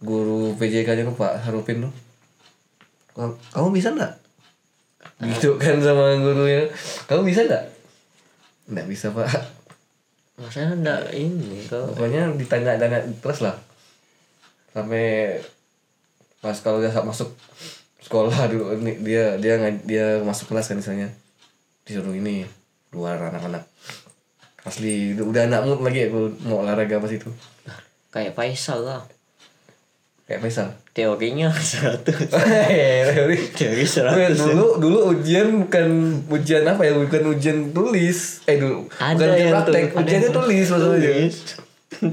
guru PJK nya tuh Pak Harupin tuh. "Kau- Kamu bisa enggak? Gitu kan sama gurunya. Kamu bisa enggak? Enggak bisa, Pak. Maksudnya enggak ini kalau Pokoknya ditanya-tanya terus lah. Sampai pas kalau udah masuk sekolah dulu ini dia dia ngaj- dia masuk kelas kan misalnya disuruh ini luar anak-anak asli udah- udah anak mood lagi aku mau olahraga pas itu kayak Faisal lah. kayak Faisal teorinya 100 Teori. teori Weh, 100 dulu dulu ujian bukan ujian apa ya bukan ujian tulis eh dulu Ada bukan ujian yang praktek tulis. ujiannya tulis maksudnya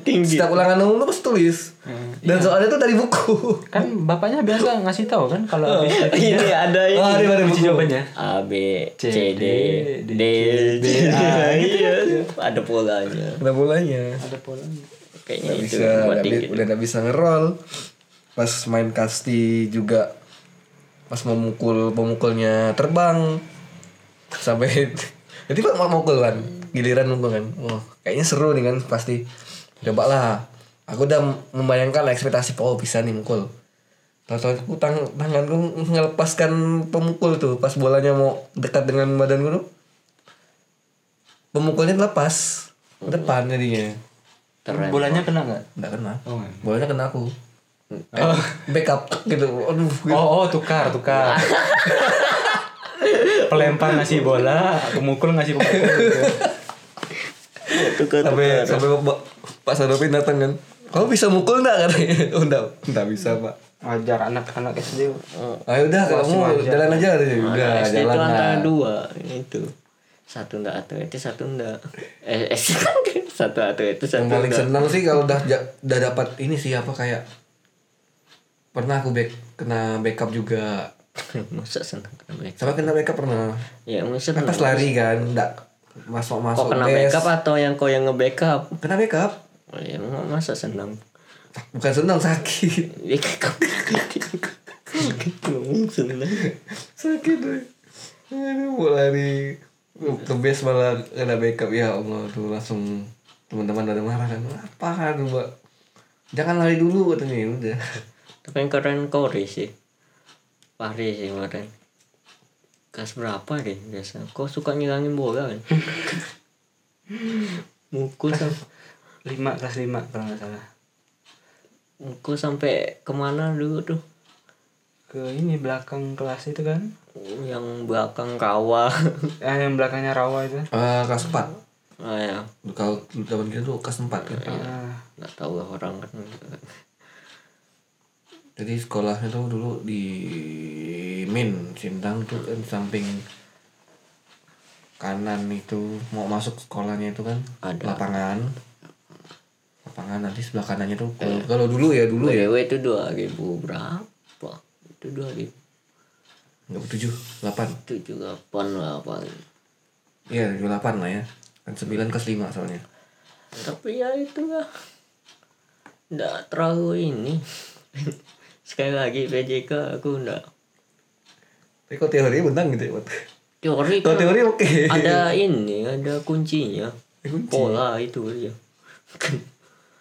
tinggi setiap ulangan umum tuh pasti tulis Hmm. Iya. dan soalnya tuh dari buku kan bapaknya biasa ngasih tahu kan kalau habis latihan. ini Iya, ada ah ini dia dari buku kunci jawabannya A B C D D, D C Ah, A gitu iya ya. ada polanya ada bolanya ada polanya kayaknya nggak itu bisa buat nggak bi- Gitu, dikit udah nggak bisa ngerol pas main kasti juga pas memukul pemukulnya terbang sampai jadi pak mau mukul kan giliran mukul kan wah kayaknya seru nih kan pasti coba lah aku udah membayangkan lah ekspektasi oh bisa nih mukul tahu aku tang tanganku ngelepaskan pemukul tuh pas bolanya mau dekat dengan badanku tuh pemukulnya lepas ke depan jadinya Keren. bolanya kena nggak nggak kena oh nggak. bolanya kena aku Eh, backup gitu aduh gitu. Oh, oh tukar tukar pelempar ngasih bola pemukul ngasih pemukul gitu. itu kan ya? sampai sampai Pak- pak Sadopin datang kan Kamu bisa mukul nggak katanya? Oh, nggak, nggak bisa pak. Ajar anak-anak SD. Ayo Ah, ya udah kamu aja. jalan aja katanya. Ya Udah Nah, SD jalan itu lah. antara dua itu satu ndak atletis satu ndak eh eh, satu atletis Yang satu paling ndak. senang sih kalau udah ja- udah dapat ini sih apa kayak pernah aku back kena backup juga. masa senang kena backup Sama kena backup pernah. ya masa Kan senang pas lari kan, nggak masuk kok masuk kena backup atau yang kau yang nge-backup Kena backup. Oh, ya emang masa senang Bukan senang sakit. ya kau ngomong senang sakit deh. Aduh, mau lari the best malah kena backup ya Allah tuh langsung teman-teman ada marah kan apa tuh mbak jangan lari dulu katanya ya udah tapi yang keren Kori sih Pari sih kemarin kas berapa deh biasa kau suka ngilangin bola kan mukul sama lima kelas lima kalau nggak salah. Aku sampai kemana dulu tuh? Ke ini belakang kelas itu kan. Yang belakang rawa. Eh, yang belakangnya rawa itu. Eh, kelas 4 ah ya, kalau zaman kita tuh kelas 4 kan Ah, nggak tahu lah orang kan. jadi sekolahnya tuh dulu di Min Sintang tuh kan samping kanan itu mau masuk sekolahnya itu kan Ada. lapangan lapangan nanti sebelah kanannya tuh kalau- kalau dulu ya dulu ya BTW itu 2000 berapa? Itu 2007 ya. nggak tujuh delapan delapan lah paling. Iya, 28 lah ya. Kan 9 ke 5 soalnya. Tapi ya itu lah. Nggak terlalu ini. Sekali lagi PJK aku nggak. Tapi kok teorinya benang gitu ya, Iya. Wat? Teori Kalau kan Oh, teori oke. ada ini, ada kuncinya. Eh, kunci. Pola itu ya.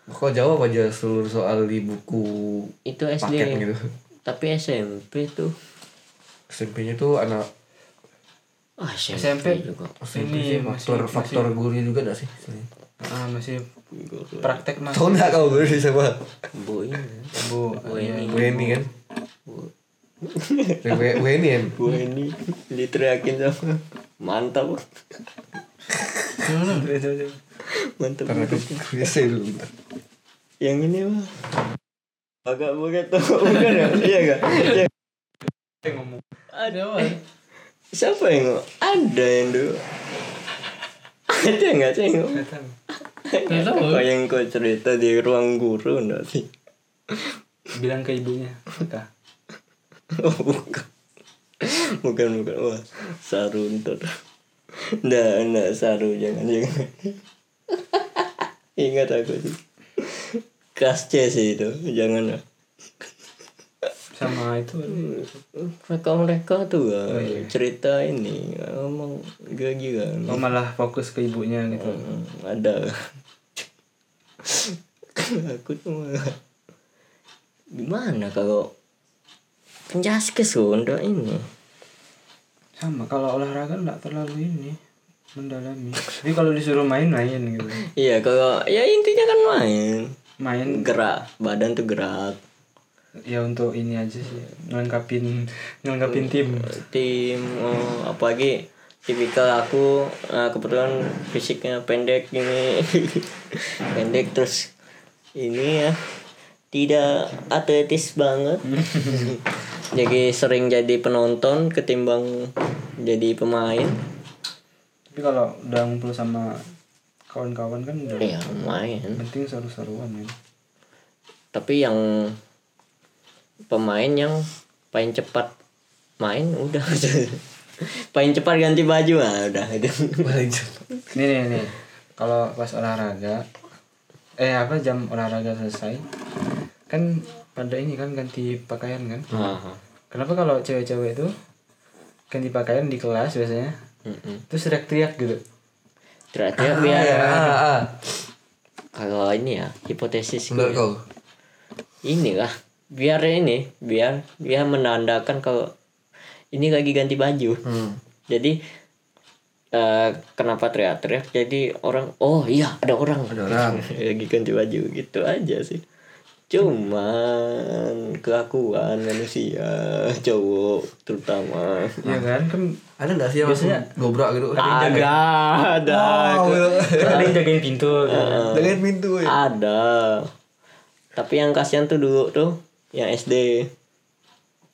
Kok jawab aja seluruh soal di buku itu SD. paket gitu. Tapi SMP tuh SMP-nya tuh anak Ah, SMP, SMP. juga. SMP Ini sih faktor masih- faktor guru juga gak sih? Sini. ah, masih praktek mas. Tahu nggak kau guru di siapa? Bu ini. Bu, Bu ini. Weni kan? Bu- We- Weni kan? Bu ini diteriakin sama mantap. Itu- itu. Mantap. Karena aku kulisnya dulu. bentar. Yang ini mah agak begitu bukan ya? Iya enggak? Iya. Ada eh, Siapa yang ngomong? Ada yang dulu. Ada enggak cengok? Nggak tahu. Kok yang kau cerita di ruang guru enggak sih? Bilang ke ibunya. Kak. Oh, bukan. Bukan, bukan. Wah, saru ntar. Nggak, nggak, saru. Jangan, jangan. Ingat aku sih. Kelas C sih itu. Jangan lah. Sama itu. Mereka-mereka tuh lah, cerita ini. Ngomong gila-gila. Oh, malah fokus ke ibunya gitu. Hmm, ada. aku tuh malah. Gimana kalau penjaskes loh untuk ini? Sama kalau olahraga nggak terlalu ini mendalami. Tapi kalau disuruh main main gitu. Iya kalau ya intinya kan main Main gerak badan tuh gerak ya untuk ini aja sih ngelengkapin ngelengkapin tim tim oh, apalagi tipikal aku eh, kebetulan fisiknya pendek ini pendek terus ini ya tidak atletis banget jadi sering jadi penonton ketimbang jadi pemain tapi kalau udah ngumpul sama kawan-kawan kan udah ya main penting seru-seruan ya tapi yang pemain yang paling cepat main udah paling cepat ganti baju lah udah gitu. itu Paling cepat. nih nih nih kalau pas olahraga eh apa jam olahraga selesai kan pada ini kan ganti pakaian kan Aha. kenapa kalau cewek-cewek itu ganti pakaian di kelas biasanya Mm-mm. terus teriak-teriak gitu teriak-teriak biar Ah, ah. kalau ini ya hipotesis Menurut kau? ini lah biar ini biar biar menandakan kalau ini lagi ganti baju Hmm. jadi eh, kenapa teriak-teriak jadi orang oh iya ada orang Ada orang. lagi ganti baju gitu aja sih cuman kelakuan manusia cowok terutama Iya kan kan Ada nggak sih yang langsung dobrak gitu? ada ada Wow, ke- gitu. Ah. kan ada yang jagain pintu gitu. iya. Jagain pintu ya. ada tapi yang kasihan tuh dulu tuh yang SD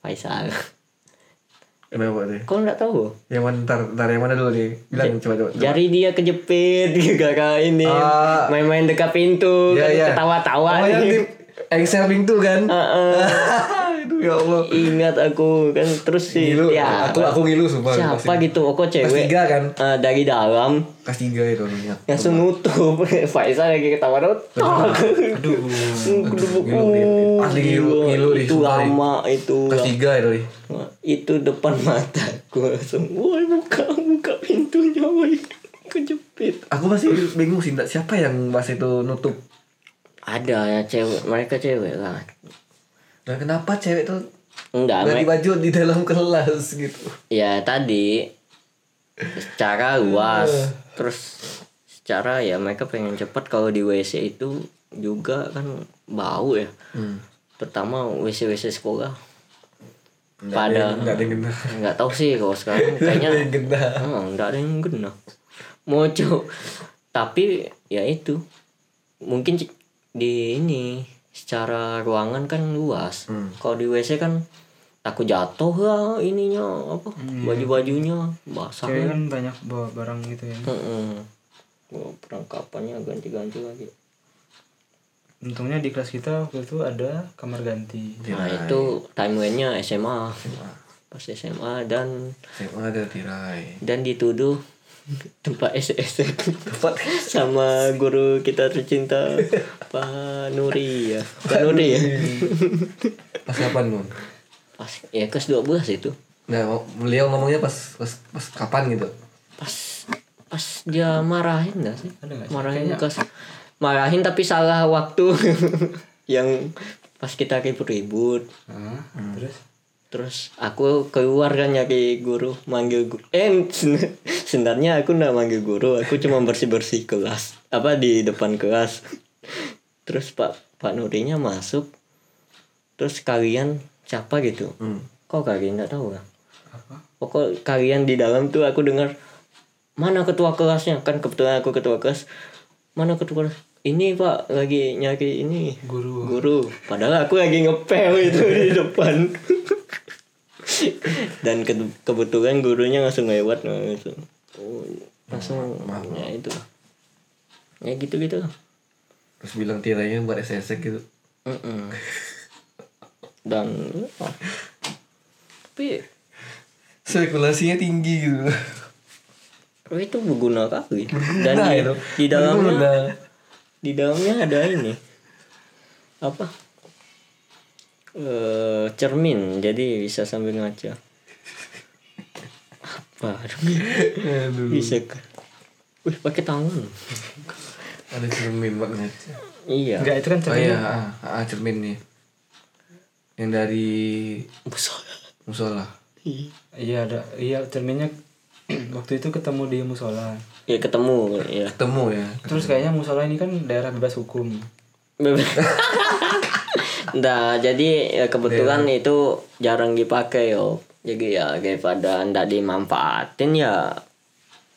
Faisal Kenapa Pak, tuh? kau nggak tahu Yang mana ntar, ntar yang mana dulu nih? Bilang coba coba. coba. jari dia kejepit gara-gara ini Ah. main-main dekat pintu Ya, kan ya. ketawa-tawa Oh yang ini. tim Excelling tuh kan? Heeh. Aduh ya Allah. ingat aku kan terus sih Ngilu. ya Aku aku ngilu sumpah. siapa gitu aku cewek tiga kan? eh, dari dalam Kelas tiga ya, itu orangnya. langsung nutup Faisal lagi ketawa nutup Aduh. Kedubuk. Ngilu dia. Asli ngilu Gila, ngilu deh. itu sumpah, deh. lama itu Kelas tiga ya, itu deh. lama. itu depan mata gue langsung woi buka buka pintunya woi kejepit Aku masih bingung sih ndak- siapa yang pas itu nutup. ada ya cewek mereka cewek lah Nah kenapa cewek tuh enggak ganti mereka baju di dalam kelas gitu? ya tadi secara luas terus secara ya mereka pengen cepat kalau di WC itu juga kan bau ya pertama WC WC sekolah pada Nggak ada yang kena. nggak tahu sih kalau sekarang kayaknya Ada yang kena. ah, nggak ada yang genah mojo tapi ya itu mungkin c- di ini secara ruangan kan luas Hmm. kalau di wc kan aku jatuh lah ininya apa Hmm. baju bajunya basah Cewek kan kan banyak bawa barang gitu ya. kan? Heeh. Wah, perangkapannya ganti-ganti lagi Untungnya di kelas kita waktu itu ada kamar ganti. nah itu timelinenya SMA pas SMA dan SMA ada tirai. dan dituduh tempat SS sama guru kita tercinta Pak Nuri ya Pak Nuri ya Pas kapan Mon? pas ya kelas 12 itu Nah ngo- beliau ngomongnya pas pas, pas kapan gitu? pas pas dia marahin gak sih Ada nggak sih? marahin kelas marahin tapi salah waktu yang pas kita ribut-ribut Nah, Hmm. terus terus aku keluar kan nyari guru manggil guru eh sen- sebenarnya aku nggak manggil guru aku cuma bersih bersih kelas apa di depan kelas terus pak pak Nurinya masuk terus kalian siapa gitu kok kalian nggak tahu kan Hmm. apa? pokok kalian di dalam tuh aku dengar mana ketua kelasnya kan kebetulan aku ketua kelas mana ketua kelas? ini pak lagi nyari ini Guru. guru padahal aku lagi ngepel itu di depan dan ke- kebetulan gurunya langsung lewat langsung oh, langsung ya itu lah. ya gitu gitu lah Terus bilang tirainya buat SSX gitu. Mm-mm. dan oh. tapi Sirkulasinya tinggi gitu. Oh, itu berguna kali dan Nah, di, itu. di dalamnya Berguna. di dalamnya ada ini apa eh cermin jadi bisa sambil ngaca apa Aduh. bisa ke wih pakai tangan Ada cermin banget. iya Enggak itu kan Oh cermin. iya, ah, ah, cermin nih. Yang dari Musola. musola. Iya. Iya ada. Iya cerminnya waktu itu ketemu di musola. ya ketemu ya Ketemu ya. Terus kayaknya musola ini kan daerah bebas hukum. Nah, jadi ya kebetulan itu jarang dipakai yo. Jadi ya daripada ndak dimanfaatin ya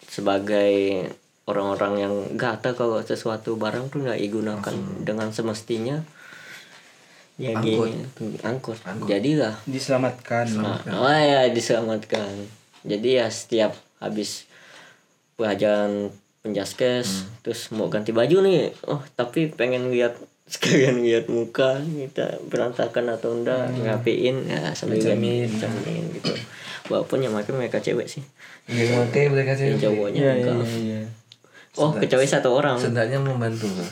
sebagai orang-orang yang gata kalau sesuatu barang tuh nggak digunakan dengan semestinya. Ya Angkut. gini, angkut. Jadilah Diselamatkan. Nah, oh ya diselamatkan. Jadi ya setiap habis pelajaran Hmm. penjaskes terus mau ganti baju nih. Oh, tapi pengen lihat sekalian lihat muka kita berantakan atau enggak Hmm. ngapain ya sambil Cermin. ganti cermin gitu. Walaupun yang makin mereka cewek sih. Yang pakai mereka sih. Yang cowoknya Iya iya enggak. iya. Oh, kecuali satu orang. Seenggaknya membantu. lah.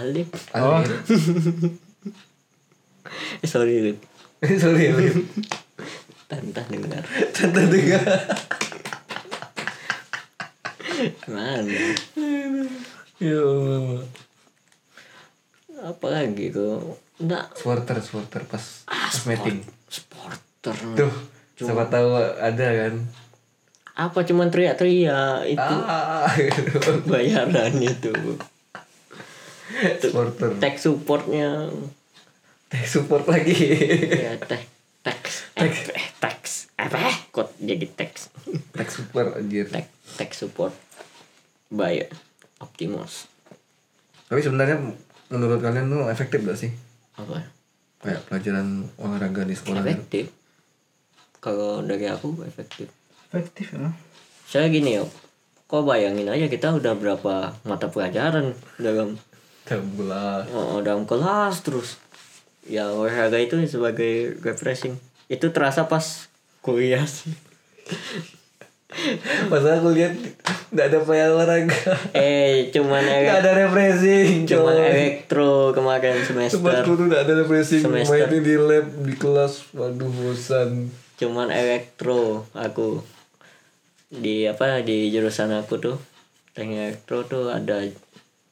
Alif. Oh. Eh, sorry, Alif. Sorry, Lip. Tante dengar. Tante dengar. Mana? Ya Allah. Apa lagi tuh? Enggak Ah, Swarter, swarter pas, pas meeting. supporter. Tuh, siapa tahu ada kan. apa cuman teriak-teriak itu Ah, gitu. bayaran itu Supporter. tech supportnya Teh support lagi. ya teh teks teks teks eh, apa Eh. kok jadi teks Teh support anjir. tech tech support bayar Optimus Tapi sebenarnya menurut kalian tuh efektif gak sih apa kayak pelajaran olahraga di sekolah efektif kalau dari aku efektif efektif ya saya gini yo kok bayangin aja kita udah berapa mata pelajaran dalam Tabula. oh, dalam kelas terus ya olahraga itu sebagai refreshing itu terasa pas kuliah sih Masa aku lihat nggak ada pelajaran olahraga. eh cuman Nggak elek- ada refreshing. cuman coy. elektro kemarin Tempat semester guru nggak ada refreshing. Semester. Mainnya di lab di kelas. Waduh bosan. cuman elektro aku di apa di jurusan aku tuh teknik elektro tuh ada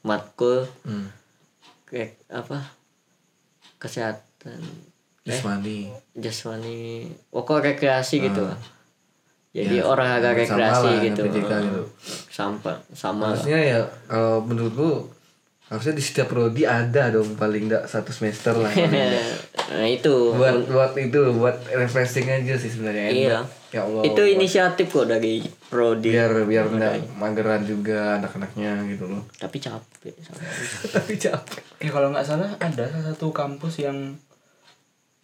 matkul Hmm. kayak apa kesehatan Eh. Jasmani. jasmani pokok rekreasi gitu Ah. lah. jadi Ya, olahraga sama rekreasi lah, gitu PJK gitu. sampai sama lah. Harusnya ya kalau menurutku harusnya di setiap prodi ada dong paling nggak satu semester lah. ya. nah itu buat buat itu buat refreshing aja sih sebenarnya. Iya. Ya Allah. itu inisiatif kok dari Ya. prodi biar biar nggak mageran juga anak-anaknya gitu loh. tapi capek sama. Tapi capek. Ya kalau nggak salah ada salah satu kampus yang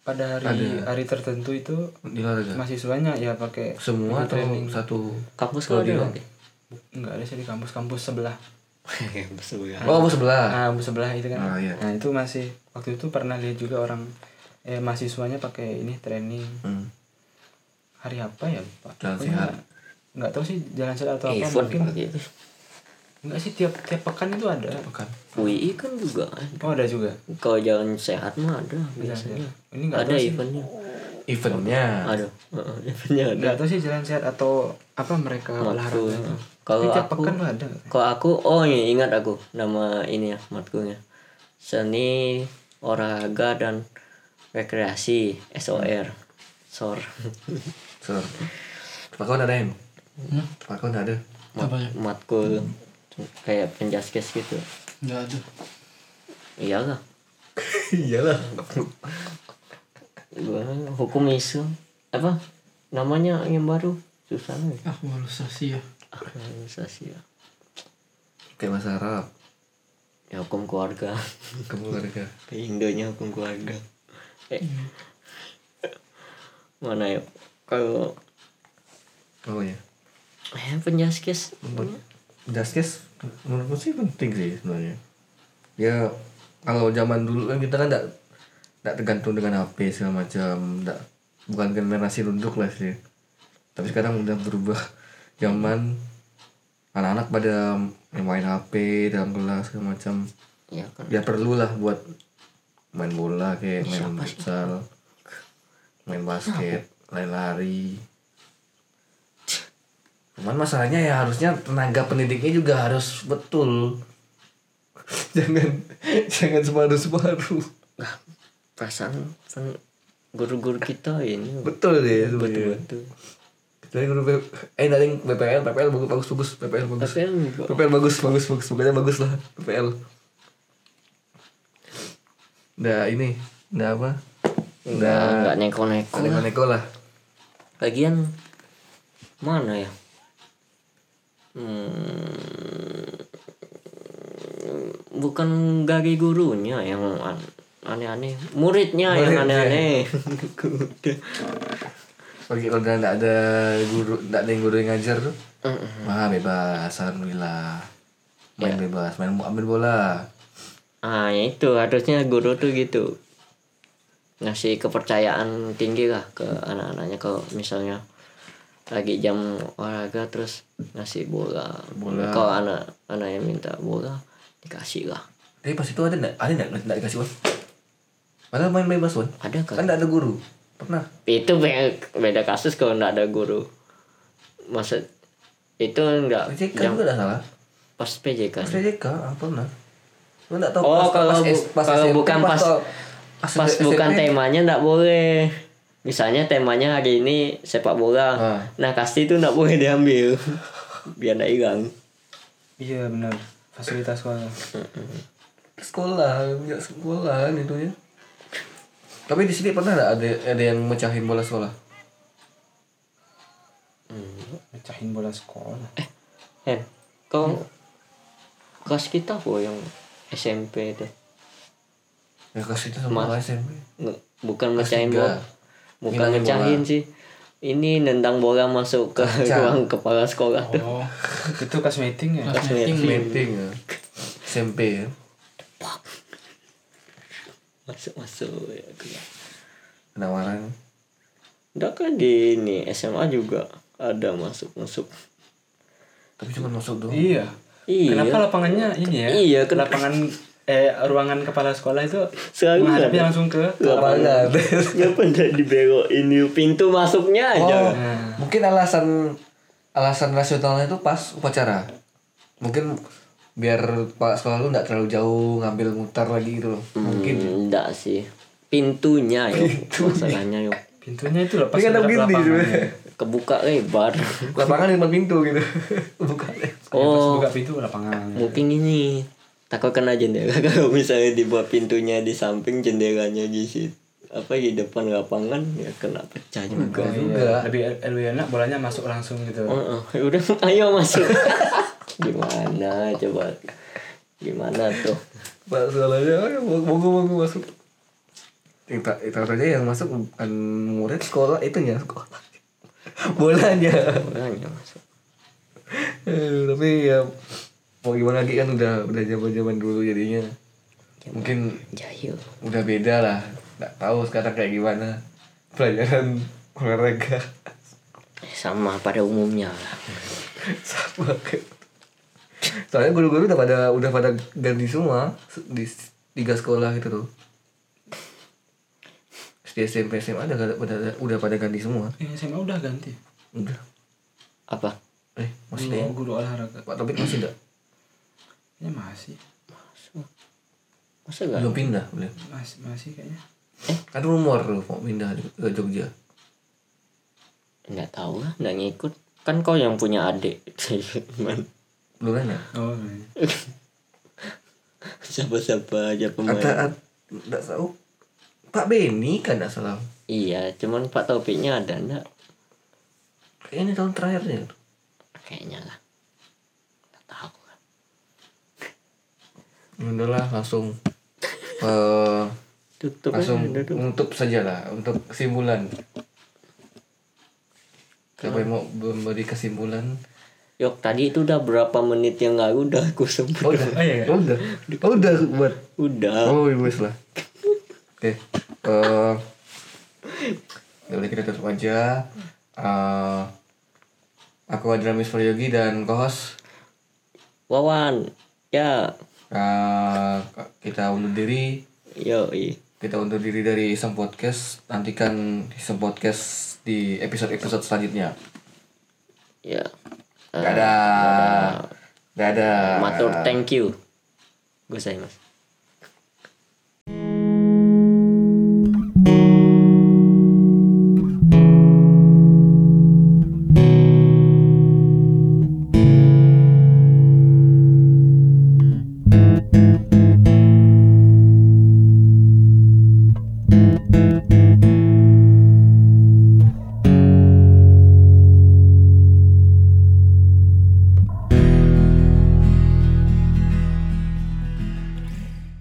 pada hari hari tertentu itu Di olahraga. mahasiswanya ya pakai Iya. Semua atau satu? kampus kalau ya. di nggak ada sih di kampus-kampus sebelah. ya. Eh, Oh, mau sebelah. Nah, kampus sebelah itu kan. Ah, iya. Nah, itu masih waktu itu pernah lihat juga orang eh mahasiswanya pakai ini training. Hmm. Hari apa ya, Pak? Jalan Pokoknya sehat. Nggak tahu sih jalan sehat atau apa event mungkin. gitu Nggak sih tiap tiap pekan itu ada. Bukan. UI kan juga ada. Oh, ada juga. kalau jalan sehat mah ada biasanya Biasanya. Ini nggak ada tahu sih. eventnya Eventnya. ada Heeh, eventnya ada Nggak tahu sih jalan sehat atau apa mereka Matkul. olahraga itu. ya. Kalau Tapi tiap aku- pekan tuh ada. Kalau aku, oh iya, ingat aku nama ini ya matkulnya. Seni olahraga dan rekreasi SOR. SOR. So. Pak kau ada yang? Pak kau ada. apa ya Matkul kayak penjaskes gitu. nggak ada Iyalah. Iyalah. Gua hukum isu apa namanya yang baru susah nih. aku harus sih Ah, ya Aktualisasi ya. Kayak bahasa Arab. Ya hukum keluarga. Kamu olahraga. Indonya hukum keluarga. Eh. Iya. Mana ya? Kalau Oh ya. eh, penjaskes Justice menurutku sih penting sih sebenarnya. Ya kalau zaman dulu kan kita kan tidak tidak tergantung dengan HP segala macam, tidak bukan generasi nunduk lah sih. Tapi sekarang udah berubah zaman anak-anak pada main HP dalam kelas segala macam. ya kan Ya perlulah buat main bola kayak main futsal, main basket, lari-lari. Cuman masalahnya ya harusnya tenaga pendidiknya juga harus betul. jangan jangan separuh-separuh. Lah, perasaan pen- guru-guru kita ini Betul ya sebenarnya. betul-betul Kecuali guru B- eh dari PPL, PPL bagus bagus bagus, PPL bagus. tapi enggak PPL bagus bagus bagus, pokoknya bagus lah PPL. Nah ini, nah apa? enggak enggak neko-neko Aneh lah. aneh lah. lagian mana ya hmm, bukan dari gurunya yang an- aneh-aneh muridnya yang Muridnya. aneh-aneh Pergi kalau udah nggak ada guru, nggak ada yang guru yang ngajar tuh, wah bebas, alhamdulillah. Ya. Main bebas, main ambil bola. ah ya itu harusnya guru tuh gitu ngasih kepercayaan tinggi lah ke anak-anaknya kalau misalnya lagi jam olahraga terus ngasih bola, Bola. kalau anak anak yang minta bola dikasih lah Tapi Eh, pas itu ada nggak, ada nggak nggak dikasih wan? Padahal main bebas wan, ada kan kan nggak ada guru. Pernah? itu be- beda kasus kalau nggak ada guru maksud itu nggak PJK kan jam juga nggak salah. pas Pas PJK PJK, ah, pernah. Lu nggak tahu Oh, kalau bu- S- kalau SMP, bukan pas- tau- pas SMP. bukan temanya nggak boleh misalnya temanya hari ini sepak bola Ah. nah kasti itu nggak boleh diambil biar nggak hilang Iya, benar. Fasilitas sekolah. sekolah nggak sekolah gitu ya tapi di sini pernah nggak ada ada yang mecahin bola sekolah Mecahin bola sekolah. Eh. Hmm. Hen kau kelas kita kok yang SMP itu Ya kelas itu sama kelas SMP. Nge- bukan mecahin tiga. bola bukan Ngilangin mecahin sih ini nendang bola masuk ke Pecah. ruang kepala sekolah tuh oh itu kelas meeting ya kelas meeting Meeting ya. SMP ya. masuk masuk ya keluar. Penawaran. Enggak kan di ini SMA juga ada masuk masuk Tapi cuma masuk doang. iya iya kenapa lapangannya ini ya Iya, kenapa- lapangan eh ruangan kepala sekolah itu Selalu menghadapi ada. langsung ke Iya, Lapangan. kenapa enggak dibelokin yuk? pintu masuknya Oh, aja mungkin alasan alasan rasionalnya itu pas upacara. Mungkin biar pak sekolah lu nggak terlalu jauh ngambil mutar lagi gitu loh. Mungkin. Hmm, enggak sih pintunya yo masalahnya yo pintunya itu lepas Tapi kan terhadap begini lapangan sebenarnya. kebuka eh, lebar Lapangan di depan pintu gitu. Bukan. Pas oh buka pintu lapangan mungkin ini takut kena jendela kalau misalnya dibuat pintunya di samping jendelanya di situ apa di depan lapangan ya kena pecah Juga. juga Iya, lebih lebih enak bolanya masuk langsung gitu Oh, oh, udah ayo masuk gimana coba gimana tuh Pak "Oh, sekolahnya "Ayo, monggo monggo masuk. Kita kita aja yang masuk bukan murid sekolah itu ya sekolah. Bolanya. orangnya masuk Aduh, tapi ya mau gimana lagi kan udah udah zaman zaman dulu jadinya mungkin jahil udah beda lah nggak tahu sekarang kayak gimana pelajaran olahraga Eh, sama pada umumnya lah. sama kayak soalnya guru-guru udah pada udah pada ganti semua se- di s- tiga sekolah gitu tuh SD SMP SMA udah pada- pada udah pada ganti semua Ini SMA Iya, udah ganti udah apa eh masih ada ya? guru olahraga Pak Topik masih enggak ini Oh, Iya, masih masa gak belum pindah belum masih masih kayaknya kan rumor loh mau pindah ke Jogja nggak tahu lah nggak ngikut kan kau yang punya adik Man, belum nanya oh siapa-siapa aja pemain Ada enggak tahu. Pak Beni kan enggak salah. iya cuman pak topiknya ada nggak Kayaknya ini tahun terakhirnya. kayaknya lah nggak tahu lah Ya Udahlah langsung eh tutup langsung aja, udah tuh. untuk sajalah untuk kesimpulan. Siapa yang mau memberi kesimpulan? Yok tadi itu udah berapa menit yang lalu udah aku sebut Oh, udah. Oh, iya, iya. Oh, udah. Oh, udah buat. udah Oh, wes lah. Oke. Eh ya udah kita tutup aja. Eh aku Adramis Prayogi dan co-host Wawan ya Eh, kita undur diri yo kita undur diri dari Iseng Podcast nantikan Iseng Podcast di episode episode selanjutnya ya dadah dadah Eh, matur thank you gue mas